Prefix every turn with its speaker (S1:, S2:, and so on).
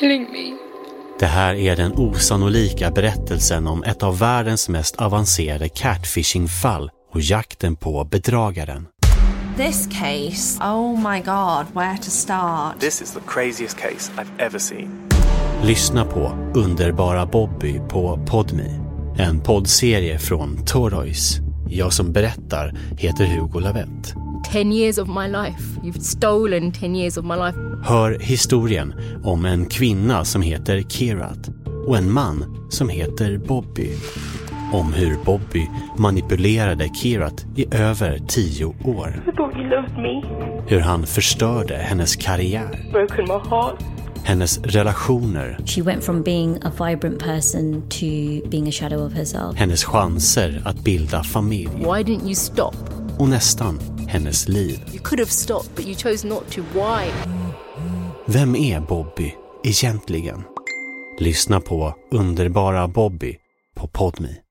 S1: killing me.
S2: Det här är den osannolika berättelsen om ett av världens mest avancerade catfishing-fall och jakten på bedragaren.
S3: This case, oh my god, where to start?
S4: This is the craziest case I've ever seen.
S2: Lyssna på Underbara Bobby på Podmi. En poddserie från Torroys. Jag som berättar heter Hugo Lavett.
S5: 10 years of my life. You've stolen 10 years of my life.
S2: Hör historien om en kvinna som heter Kirat och en man som heter Bobby. Om hur Bobby manipulerade Kirat i över tio år.
S1: Bobby loved me,
S2: Hur han förstörde hennes karriär,
S1: broken my heart.
S2: hennes relationer,
S6: She went from being a vibrant person to being a shadow of herself.
S2: hennes chanser att bilda familj
S5: Why didn't you stop?
S2: och nästan hennes liv.
S5: You could have stopped, but you chose not to. Why?
S2: Vem är Bobby egentligen? Lyssna på Underbara Bobby på Podmi.